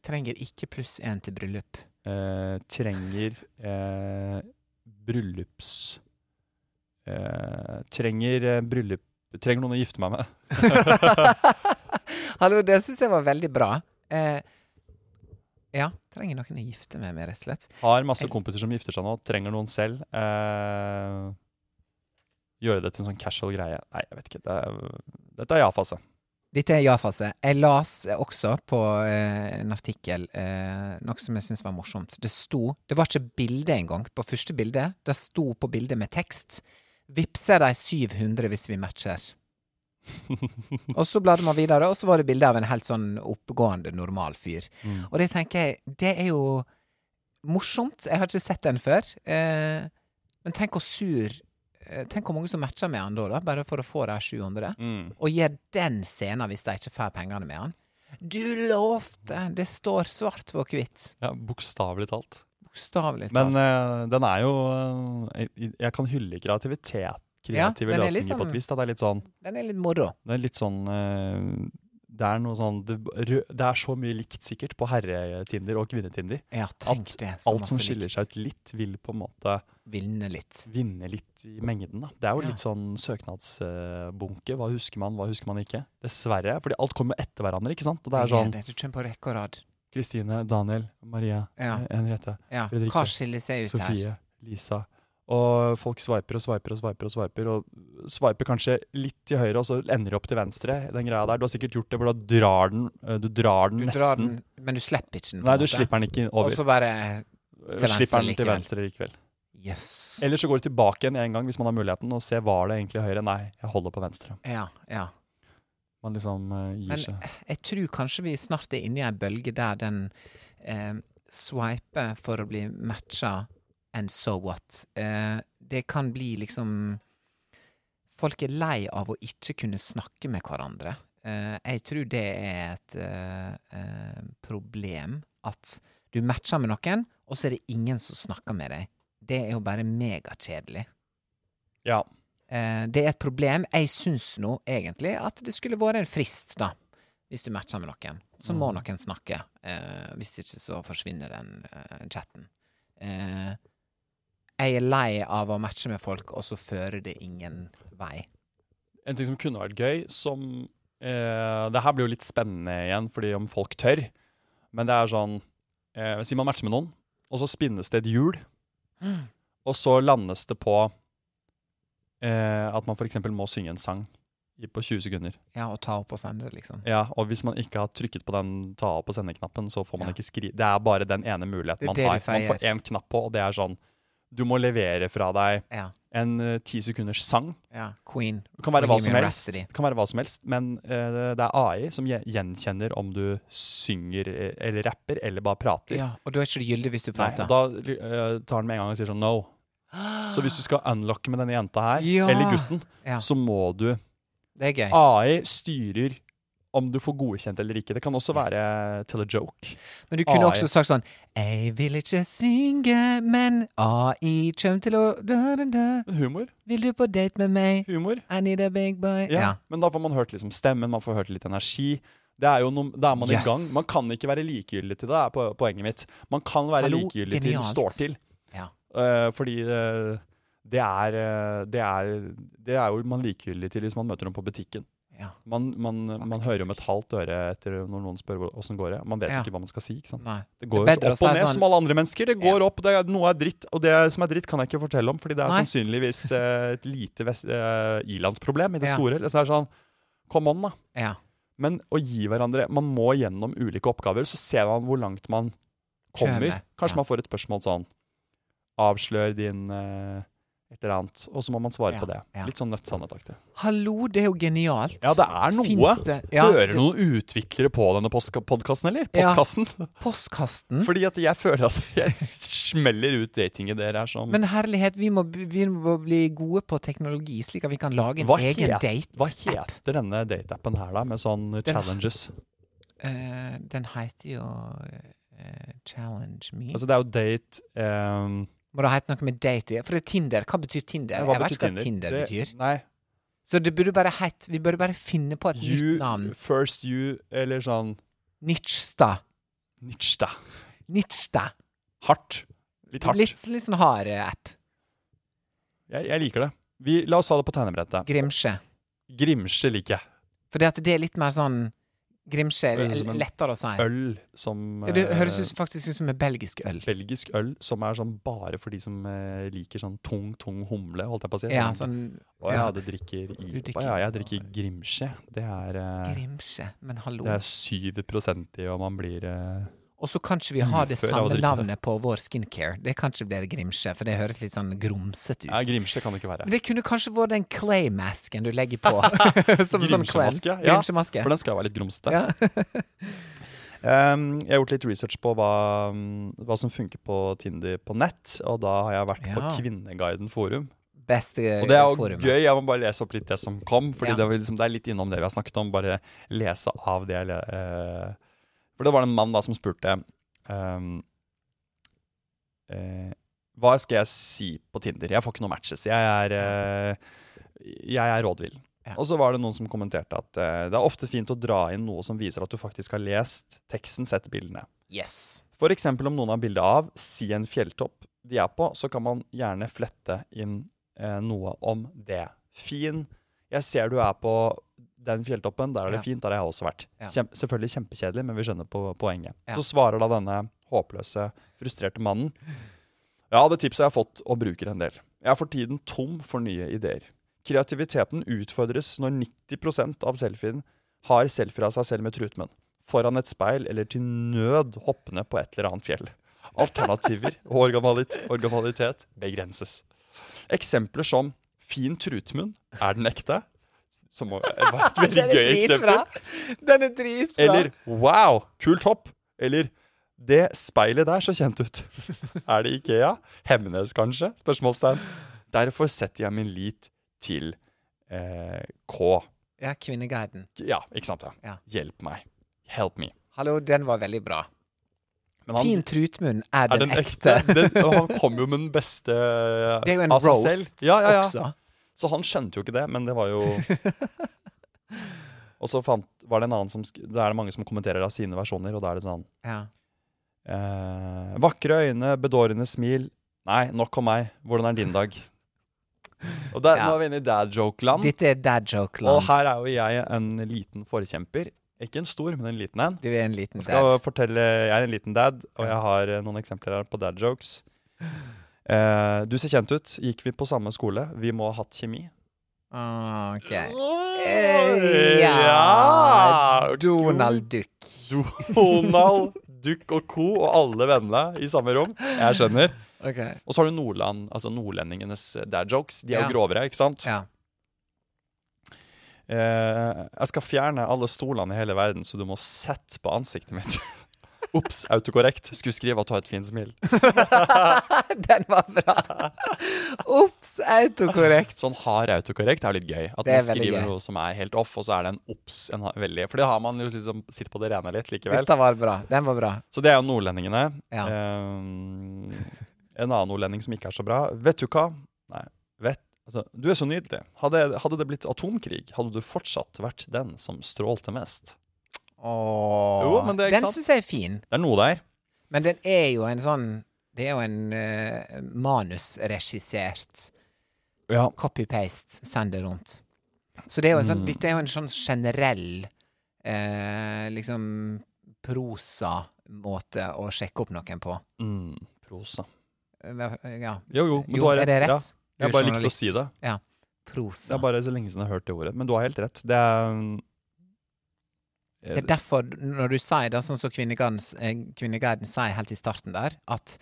A: Trenger ikke pluss én til bryllup.
B: eh, Trenger eh, bryllups... Eh, trenger eh, bryllup Trenger noen å gifte meg med.
A: Hallo, det syns jeg var veldig bra. Eh, ja, trenger noen å gifte meg med, rett og slett.
B: Har masse kompiser som gifter seg nå. Trenger noen selv. Eh, gjøre det til en sånn casual greie. Nei, jeg vet ikke. Det er, dette er ja-fase.
A: Dette er ja-fase. Jeg las også på eh, en artikkel eh, noe som jeg syntes var morsomt. Det sto Det var ikke bilde engang på første bilde. Det sto på bildet med tekst. Vipser de 700 hvis vi matcher? og så bladde man videre, og så var det bilde av en helt sånn oppegående, normal fyr. Og det tenker jeg Det er jo morsomt. Jeg har ikke sett den før. Eh, men tenk hvor sur eh, Tenk hvor mange som matcher med han da, da bare for å få de 700
B: Mm.
A: og gir den scenen hvis de ikke får pengene med han. Du lovte! Det står svart på hvitt.
B: Ja, Bokstavelig talt.
A: Bokstavelig talt.
B: Men eh, den er jo eh, jeg, jeg kan hylle kreativitet.
A: Ja,
B: Kreative
A: den er
B: løsninger
A: liksom-
B: på et vis. Da. Det er litt sånn,
A: Den er litt moro.
B: det er litt sånn eh, det er noe sånn det, rø- det er så mye likt, sikkert, på herretinder og kvinnetinder.
A: Ja, tenk
B: At
A: det.
B: alt som skiller seg ut litt, vil på en måte
A: Vinne litt.
B: vinne litt i mengden. Da. Det er jo
A: Ja.
B: litt sånn søknadsbunke. Hva husker man, hva husker man ikke? Dessverre. fordi alt kommer etter hverandre. ikke sant? Og det er sånn
A: det. Du kommer på rekke og rad.
B: Kristine, Daniel, Maria,
A: Ja.
B: eh, Henriette,
A: Ja.
B: Fredrikke,
A: Hva skiller seg ut her?
B: Sofie, Lisa. Og folk sveiper og sveiper og sveiper og sveiper og sveiper kanskje litt til høyre, og så ender de opp til venstre. den greia der. Du har sikkert gjort det, hvor da drar den, eh, du drar den
A: Du
B: nesten
A: drar den, men du slipper ikke den. på
B: Nei,
A: en
B: du
A: måte.
B: slipper den ikke
A: Og
B: over.
A: så bare
B: Du slipper den til
A: likevel.
B: venstre likevel.
A: Jøss. Yes.
B: Eller så går du tilbake igjen en gang hvis man har muligheten, og ser var det egentlig høyre. Nei, jeg holder på venstre.
A: Ja, ja.
B: Man liksom eh, gir
A: Men
B: seg.
A: jeg tror kanskje vi snart er inne i ei bølge der den eh, sveiper for å bli matcha, and so what. Eh, det kan bli liksom Folk er lei av å ikke kunne snakke med hverandre. Eh, jeg tror det er et eh, eh, problem at du matcher med noen, og så er det ingen som snakker med deg. Det er jo bare megakjedelig.
B: Ja.
A: Eh, det er et problem. Jeg syns nå egentlig at det skulle vært en frist, da. Hvis du matcher med noen, så
B: Mm.
A: må noen snakke. Eh, hvis ikke så forsvinner den eh, chatten. Eh, jeg er lei av å matche med folk, og så fører det ingen vei.
B: En ting som kunne vært gøy, som eh, Det her blir jo litt spennende igjen, fordi om folk tør. Men det er sånn eh, Si man matcher med noen, og så spinnes det et hjul. Og så landes det på eh, at man f.eks. må synge en sang i- på 20 sekunder.
A: Ja, å ta opp og sende, liksom.
B: Ja, Og hvis man ikke har trykket på den ta opp og sende-knappen, så får man
A: Ja.
B: ikke skrive Det er bare den ene muligheten
A: Det er
B: man
A: det
B: har.
A: du
B: Man får
A: feier.
B: én knapp på, og det er sånn Du må levere fra deg
A: Ja.
B: en eh, ti sekunders sang.
A: ja. Queen.
B: Det kan være hva som
A: Bohemian
B: helst,
A: Rhapsody.
B: det kan være hva som helst men eh, det er AI som gje- gjenkjenner om du synger eh, eller rapper eller bare prater.
A: Ja, og da er ikke det gyldig hvis du
B: Nei,
A: prater.
B: og da eh, tar den med en gang og sier sånn no. Så hvis du skal unlocke med denne jenta her,
A: Ja.
B: eller gutten,
A: Ja.
B: så må du
A: det er gøy.
B: AI styrer om du får godkjent eller ikke. Det kan også
A: Yes.
B: være til a joke.
A: Men du
B: AI.
A: kunne også sagt sånn Jeg vil ikke synge, men AI kjem til å da, da, da.
B: Humor.
A: Vil du på date med meg?
B: Humor.
A: I need a big boy.
B: Ja. Men da får man hørt liksom stemmen, man får hørt litt energi. Det er jo noe, da er man
A: Yes.
B: i gang. Man kan ikke være likegyldig til det, er po- poenget mitt. Man kan være
A: Hallo,
B: likegyldig til det
A: genialt.
B: står til.
A: Ja.
B: Eh, fordi eh, det, er, eh, det, er, det er jo man likegyldig til hvis man møter noen på butikken.
A: Ja.
B: Man, man, man
A: Faktisk.
B: hører om et halvt øre etter når noen spør hvor- åssen går det. Man vet
A: Ja.
B: ikke hva man skal si. ikke sant?
A: Nei.
B: Det går
A: Det
B: jo
A: er
B: opp
A: bedre å
B: og
A: si
B: ned
A: sånn-
B: som alle andre mennesker. Det går opp, det er, Noe er dritt, og det som er dritt, kan jeg ikke fortelle om, fordi det er
A: Nei.
B: sannsynligvis eh, et lite vest, eh, ilandsproblem i det
A: Ja.
B: store. Så det er sånn, come on, da.
A: Ja.
B: Men å gi hverandre Man må gjennom ulike oppgaver, så ser man hvor langt man kommer.
A: Kjører,
B: Kanskje
A: ja.
B: man får et spørsmål sånn Avslør din eh, et eller annet, og så må man svare
A: Ja,
B: på det.
A: ja.
B: Litt sånn nødt-sannhet-aktig.
A: Hallo, det er jo genialt.
B: Ja, det er noe.
A: Finnes det- ja,
B: Hører
A: det-
B: noen utviklere på denne podkasten, eller?
A: Ja. Mm.
B: Postkassen?
A: Postkasten.
B: Fordi at jeg føler at jeg smeller ut datingideer her som
A: Men herlighet, vi må, b- vi må bli gode på teknologi, slik at vi kan lage en
B: hva,
A: egen
B: het-
A: date.
B: hva heter denne dateappen her, da, med sånn challenges?
A: Eh, den heter jo eh, Challenge me.
B: Altså, det er jo date ehm,
A: Må det hete noe med date? i? For det er Tinder. Hva betyr Tinder?
B: hva
A: jeg vet
B: betyr
A: ikke hva Tinder
B: Det-
A: betyr.
B: Nei,
A: Så det burde bare hett Vi burde bare finne på et
B: You,
A: nytt navn.
B: First you, eller sånn
A: Nitschta.
B: Nitschta.
A: Nitschta.
B: Hardt. Litt hardt.
A: Litt, litt sånn hard eh, app.
B: Jeg, jeg liker det. Vi, la oss ha det på tegnebrettet.
A: Grimsje.
B: Grimsje liker jeg.
A: For det, at det er litt mer sånn
B: Høres
A: Grimsje er
B: ut som en
A: lettere å si.
B: Øl som
A: Ja, Det
B: eh,
A: høres ut- faktisk ut som en belgisk øl.
B: Belgisk øl som er sånn bare for de som eh, liker sånn tung, tung humle, holdt jeg på å si.
A: Ja, sånn
B: Å ja,
A: ja.
B: du drikker IPA.
A: drikker-
B: ja, jeg drikker Grimsje. Det er, eh,
A: Grimsje. Men hallo.
B: det er 7 i og man blir eh,
A: Og så kan ikke vi ha det
B: Ufør av å
A: samme
B: drikke det.
A: navnet på vår skincare. Det kan ikke bli Grimsje, for det høres litt sånn grumsete
B: Ja,
A: ut.
B: Grimsje kan det ikke være.
A: Men det kunne kanskje vært den clay-masken du legger på. som en sånn cleanse.
B: Grimsjemaske. Ja,
A: Grimsjemaske.
B: for den skal jo være litt grumsete.
A: Ja.
B: Um, jeg har gjort litt research på hva, um, hva som funker på Tinder på nett, og da har jeg vært på
A: Ja.
B: Kvinneguiden forum.
A: Beste
B: Og det er jo
A: forumet.
B: gøy, jeg må bare lese opp litt det som kom, fordi
A: Ja.
B: det, var liksom, det er litt innom det vi har snakket om, bare lese av det jeg le- eh, For det var en mann da som spurte um, eh, Hva skal jeg si på Tinder? Jeg får ikke noen matches. Jeg er, eh, jeg er rådvill.
A: Ja.
B: Og så var det noen som kommenterte at eh, det er ofte fint å dra inn noe som viser at du faktisk har lest teksten, sett bildene.
A: Yes.
B: For eksempel om noen har bilde av, si en fjelltopp de er på, så kan man gjerne flette inn eh, noe om det. Fin, jeg ser du er på den fjelltoppen, der er det
A: Ja.
B: fint, der har jeg også vært.
A: Ja.
B: Kjem, selvfølgelig kjempekjedelig, men vi skjønner på poenget.
A: Ja.
B: Så svarer da denne håpløse, frustrerte mannen. Ja, det tipset jeg har fått og bruker en del. Jeg er for tiden tom for nye ideer. Kreativiteten utfordres når 90 av selfien har selfier av seg selv med trutmunn. Foran et speil eller til nød hoppende på et eller annet fjell. Alternativer og originalit- originalitet begrenses. Eksempler som fin trutmunn, er den ekte? Som må være et veldig gøy eksempel.
A: Den er dritbra!
B: Eller wow, kult hopp. Eller det speilet der så kjent ut. Er det Ikea? Hemnes, kanskje? Spørsmålstegn. Derfor setter jeg min lit til eh, K.
A: Ja, Kvinneguiden.
B: Ja, ikke sant? Ja.
A: Ja.
B: Hjelp meg. Help me.
A: Hallo, den var veldig bra.
B: Men han-
A: fin trutmunn er,
B: er den ekte? Den, og han kom jo med den beste
A: Det er jo en
B: av seg Altså selv.
A: roast
B: Ja, ja, ja.
A: også.
B: Så han skjønte jo ikke det, men det var jo Og så fant, var det en annen som, sk- Da er det mange som kommenterer av sine versjoner, og da er det sånn
A: Ja.
B: eh, Vakre øyne, bedårende smil. Nei, nok om meg. Hvordan er din dag? Og der,
A: Ja.
B: Nå er vi inne i dad joke-land.
A: Dette er dad joke
B: Og
A: land.
B: Mm. her er jo jeg en liten forkjemper. Ikke en stor, men en liten en.
A: Du er en liten
B: Jeg skal
A: dad.
B: fortelle, jeg er en liten dad, og jeg har eh, noen eksempler her på dad jokes. Eh, du ser kjent ut. Gikk vi på samme skole? Vi må ha hatt kjemi.
A: Ah, Ok.
B: Eh,
A: Ja
B: ja.
A: Donald Duck.
B: Donald, Duck og co. og alle vennene i samme rom. Jeg skjønner.
A: Ok.
B: Og så har du Nordland, altså nordlendingenes dad jokes. De er
A: Ja.
B: jo grovere, ikke sant?
A: Ja.
B: Eh, jeg skal fjerne alle stolene i hele verden, så du må sette på ansiktet mitt. Ops, autokorrekt. Skulle skrive at du har et fint smil.
A: Den var bra. Ops, autokorrekt.
B: Sånn hard autokorrekt er litt gøy. At
A: Det er
B: man
A: veldig
B: skriver
A: gøy.
B: noe som er helt off, og så er det en ops. En ha- veldig, for det har man jo liksom sitt på det rene litt likevel.
A: Dette var bra. Den var bra.
B: Så det er jo nordlendingene.
A: Ja.
B: Ehm, en annen nordlending som ikke er så bra. Vet du hva? Nei, vet altså, Du er så nydelig. Hadde, hadde det blitt atomkrig, hadde du fortsatt vært den som strålte mest.
A: Åh.
B: Jo, men det er ikke
A: den
B: sant.
A: syns jeg er fin.
B: Det er noe der.
A: Men den er jo en sånn Det er jo en eh, manusregissert
B: Ja.
A: copy-paste, send det rundt. Så det er jo en
B: Mm.
A: sånn, dette er jo en sånn generell eh, liksom prosa-måte å sjekke opp noen på.
B: Mm, prosa.
A: Eh, Ja.
B: Jo, jo, men
A: Jo,
B: du har rett.
A: er det
B: Ja.
A: rett? Du
B: Jeg
A: er
B: bare likte å
A: journalist.
B: si det.
A: Ja.
B: Det
A: Prosa.
B: er bare så lenge siden jeg har hørt det ordet. Men du har helt rett. Det er eh, mm,
A: Det er derfor, når du sier det, sånn som Kvinneguiden eh, Kvinneguiden sier helt i starten der, at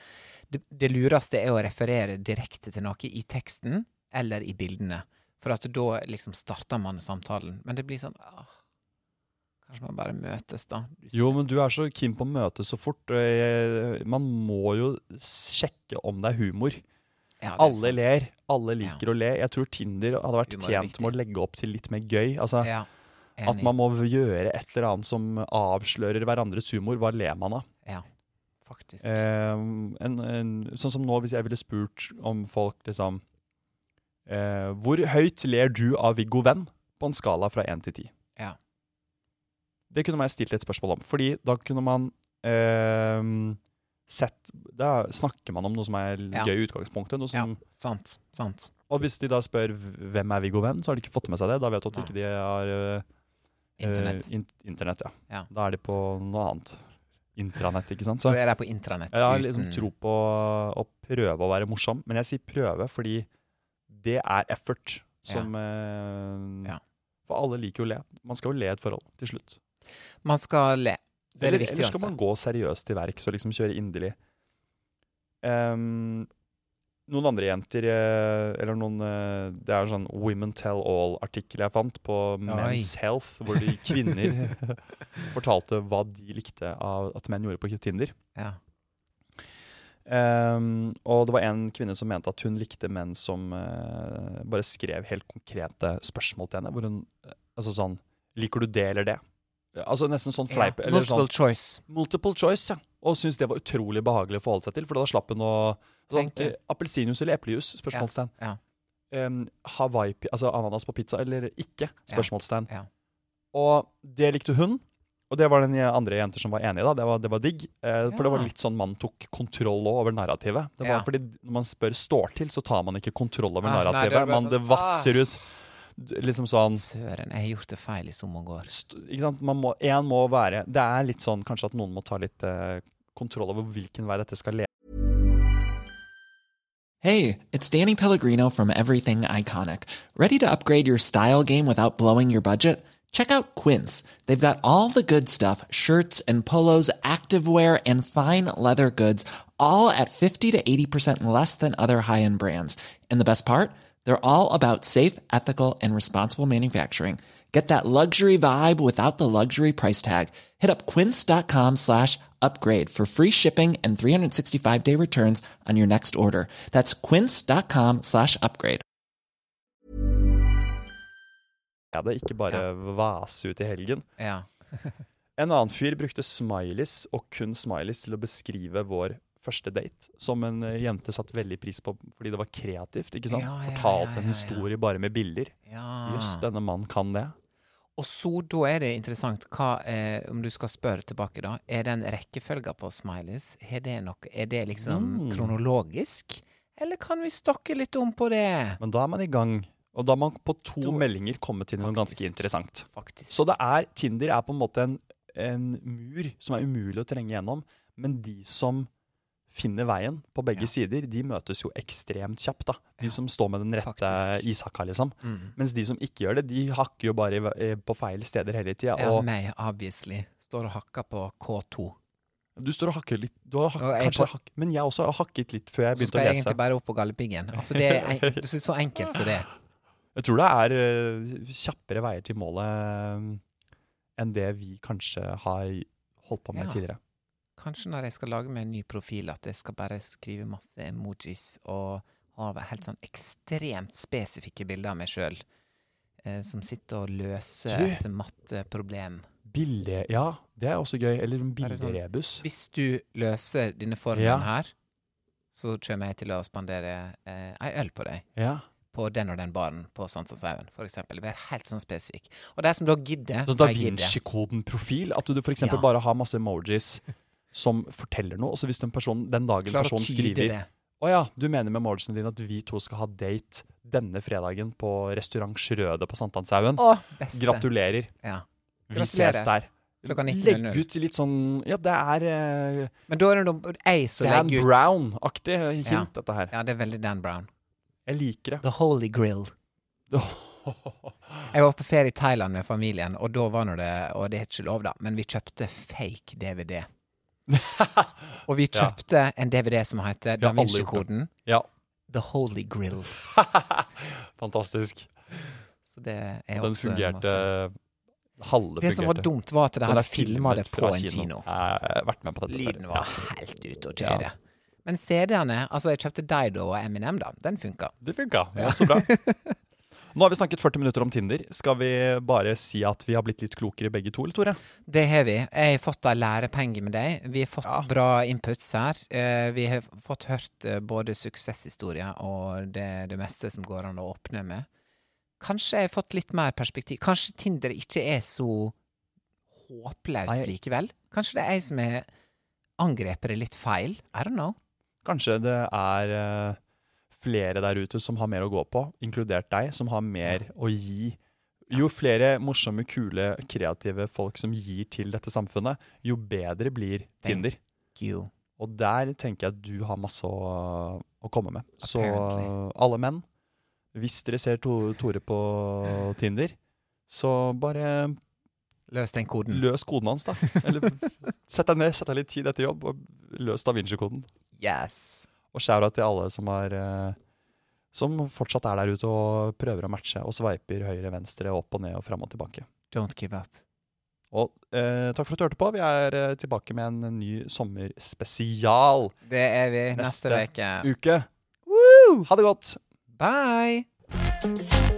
A: det, det lureste er å referere direkte til noe i teksten eller i bildene. For at da liksom starter man samtalen. Men det blir sånn ah, Kanskje man bare møtes, da. Du ser-
B: Jo, men du er så keen på å møtes så fort. og jeg- Man må jo sjekke om det er humor.
A: Ja, det er
B: Alle
A: sant.
B: ler. Alle liker å le. Jeg tror Tinder hadde vært
A: Humor er
B: tjent med å legge opp til litt mer gøy. Altså,
A: Ja,
B: At
A: enig.
B: man må gjøre et eller annet som avslører hverandres humor. Hva ler man av?
A: Ja, faktisk.
B: Eh, en, en, sånn som nå, hvis jeg ville spurt om folk liksom eh, Hvor høyt ler du av Viggo Venn på en skala fra 1 til 10?
A: Ja.
B: Det kunne man stilt et spørsmål om. Fordi da kunne man ehm, sett Da snakker man om noe som er l-
A: Ja.
B: gøy i utgangspunktet. Noe
A: ja,
B: som,
A: sant. Sant.
B: Og hvis de da spør v- hvem er Viggo Venn, så har de ikke fått med seg det. Da vet du at de
A: Nei.
B: ikke de har eh,
A: Internett.
B: eh, in internett ja.
A: Ja.
B: Da er de på noe annet. Intranett, ikke sant.
A: Da
B: Så
A: er de på intranett.
B: jeg har liksom
A: uten-
B: tro på å prøve å være morsom, men jeg sier prøve fordi det er effort som eh,
A: Ja.
B: For alle liker jo å le. Man skal jo le i et forhold til slutt.
A: Man skal le. Det er det
B: Eller- Eller skal
A: viktigste.
B: man gå seriøst til verks og liksom kjøre inderlig? Ehm, noen andre jenter eh, Eller noen eh, Det er en sånn Women Tell All-artikkel jeg fant på Men's Health, hvor de kvinner fortalte hva de likte av at menn gjorde på Tinder.
A: Ja.
B: Ehm, og det var en kvinne som mente at hun likte menn som eh, bare skrev helt konkrete spørsmål til henne. Hvor hun eh, Altså sånn Liker du det eller det? Altså Nesten sånn fleip.
A: Ja.
B: eller sånn,
A: Multiple choice.
B: Multiple choice, ja. Og syntes det var utrolig behagelig å forholde seg til, for da slapp hun å sånn,
A: Tenke.
B: eh, Appelsinjuice eller eplejus? Spørsmålstegn.
A: Ja, ja.
B: Em, Hawaii, altså ananas på pizza eller ikke? Spørsmålstegn.
A: ja.
B: Og det likte hun, og det var den andre jenter som var enige, da. Det var, det var digg. Eh, For det var
A: Ja.
B: litt sånn man tok kontroll også over narrativet. Det var
A: Ja.
B: fordi når man spør står til, så tar man ikke kontroll over
A: Ah, nei, det
B: narrativet.
A: er bare
B: man,
A: sånn,
B: det vasser ut. d- Liksom sånn
A: Søren, jeg har gjort det feil i så mange år.
B: st- ikke sant? Man må, en må være Det er litt sånn kanskje at noen må ta litt eh, kontroll over hvilken vei dette skal lede.
E: Hey, it's Danny Pellegrino from Everything Iconic. Ready to upgrade your style game without blowing your budget? Check out Quince. They've got all the good stuff shirts and polos, activewear, and fine leather goods, all at 50 to 80% less than other high end brands. And the best part? They're all about safe, ethical, and responsible manufacturing. Get that luxury vibe without the luxury price tag. Hit up quince.com slash upgrade for free shipping and 365 day returns on your next order. That's quince.com slash upgrade.
B: Ikke bare vase ut i helgen.
A: Ja.
B: En annen fyr brukte smileys og kun smileys til å beskrive vår første date, som en eh, jente satte veldig pris på fordi det var kreativt. ikke sant?
A: Ja, ja, ja,
B: Fortalte
A: ja,
B: en
A: ja.
B: historie bare med bilder.
A: ja.
B: Jøss, denne mannen kan det.
A: Og så, da er det interessant hva, eh, om du skal spørre tilbake, da. Er den rekkefølgen på smileys, er det, nok, er det liksom
B: Mm.
A: kronologisk? Eller kan vi stokke litt om på det?
B: Men da er man i gang, og da har man på to
A: Da-
B: meldinger kommet til noe ganske
A: Faktisk.
B: interessant.
A: Faktisk.
B: Så det er, Tinder er på en måte en, en mur som er umulig å trenge gjennom, men de som finner veien på begge sider, de møtes jo ekstremt kjapt. da. De som står med den rette
A: faktisk. Mm.
B: ishakka, liksom. Mens de som ikke gjør det, de hakker jo bare i, ve- eh, på feil steder hele tida.
A: Ja,
B: Og
A: meg, obviously. Står og hakker på K2.
B: du står og hakker litt, du har hak,
A: Og jeg
B: kanskje
A: på-
B: hakk, men jeg også har hakket litt før jeg
A: Så
B: begynte
A: skal
B: å
A: jeg
B: lese.
A: egentlig bare opp på Galdhøpiggen. Altså, det er en, det er så enkelt som det. er.
B: Jeg tror det er eh, kjappere veier til målet eh, enn det vi kanskje har holdt på med
A: Ja.
B: tidligere.
A: Kanskje når jeg skal lage meg en ny profil, at jeg skal bare skrive masse emojis og ha helt sånn ekstremt spesifikke bilder av meg sjøl, eh, som sitter og løser
B: Du.
A: et matteproblem.
B: Bille, ja, det er også gøy. Eller en
A: Er det sånn-
B: bilderebus.
A: Hvis du løser denne formen
B: Ja.
A: her, så kommer jeg til å spandere eh, ei øl på deg.
B: Ja.
A: På den og den baren på Sankthanshaugen, for eksempel. Vær helt sånn spesifikk. Og de som da gidder,
B: Så Da
A: de gidder.
B: Vinci-koden-profil. At du f.eks.
A: Ja.
B: bare har masse emojis som forteller noe. Og så hvis den, person, den dagen
A: Klarer å
B: personen
A: tyde
B: skriver
A: det.
B: Å ja, du mener med emojisene dine at vi to skal ha date denne fredagen på restaurant Schrøde på Sankthanshaugen.
A: Å, beste.
B: Gratulerer.
A: Ja.
B: Vi ses
A: Gratulerer.
B: der.
A: Klokka 19.00.
B: Legg ut litt sånn Ja, det er eh,
A: Men da er det noe- jeg som
B: Dan
A: legger ut
B: Brown-aktig hint,
A: Ja.
B: dette her.
A: Ja, det er veldig Dan Brown.
B: Jeg liker det.
A: The Holy Grill. Jeg var på ferie i Thailand med familien, og da var nå det Og det er ikke lov, da, men vi kjøpte fake DVD. Og vi
B: Ja.
A: kjøpte en DVD som heter
B: Ja,
A: Da
B: alle
A: Vinci-koden
B: ja.
A: The Holy Grill.
B: Fantastisk.
A: Så det er
B: Den
A: også en
B: fungerte
A: måte.
B: Halve
A: Det som var
B: fungerte.
A: dumt, var at de
B: Den
A: hadde
B: er
A: filma det
B: filmet
A: på
B: fra
A: en kino.
B: Jeg har vært med på dette. før.
A: Lyden
B: Ja,
A: var helt ute å
B: Ja.
A: kjøre. Men CD-ene Altså, jeg kjøpte Dido og Eminem, da. Den funka.
B: det funka. Ja, så bra. Nå har vi snakket 40 minutter om Tinder. Skal vi bare si at vi har blitt litt klokere begge to, eller Tore?
A: Det har vi. Jeg har fått ei lærepenge med deg. Vi har fått bra inputs her. Eh, vi har fått hørt eh, både suksesshistorier og det, det meste som går an å åpne med. Kanskje jeg har fått litt mer perspektiv. Kanskje Tinder ikke er så håpløst
B: Nei.
A: likevel? Kanskje det er jeg som har angrepet det litt feil? I don't know.
B: Kanskje det er eh, flere der ute som har mer å gå på, inkludert deg, som har mer å gi. Jo flere morsomme, kule, kreative folk som gir til dette samfunnet, jo bedre blir
A: Thank
B: Tinder.
A: You.
B: Og der tenker jeg at du har masse å, å komme med. Så
A: Apparently.
B: alle menn, hvis dere ser to, Tore på Tinder, så bare
A: Løs den koden.
B: løs koden hans, da. Eller sett deg ned, sett deg litt tid etter jobb, og løs da Vinci-koden.
A: Yes.
B: Og skjæra til alle som har eh, som fortsatt er der ute og prøver å matche og sveiper høyre, venstre, opp og ned og fram og tilbake.
A: Don't give up.
B: Og eh, takk for at du hørte på. Vi er eh, tilbake med en ny sommerspesial
A: Det er vi
B: neste
A: neste uke.
B: uke. Ha det godt!
A: Bye!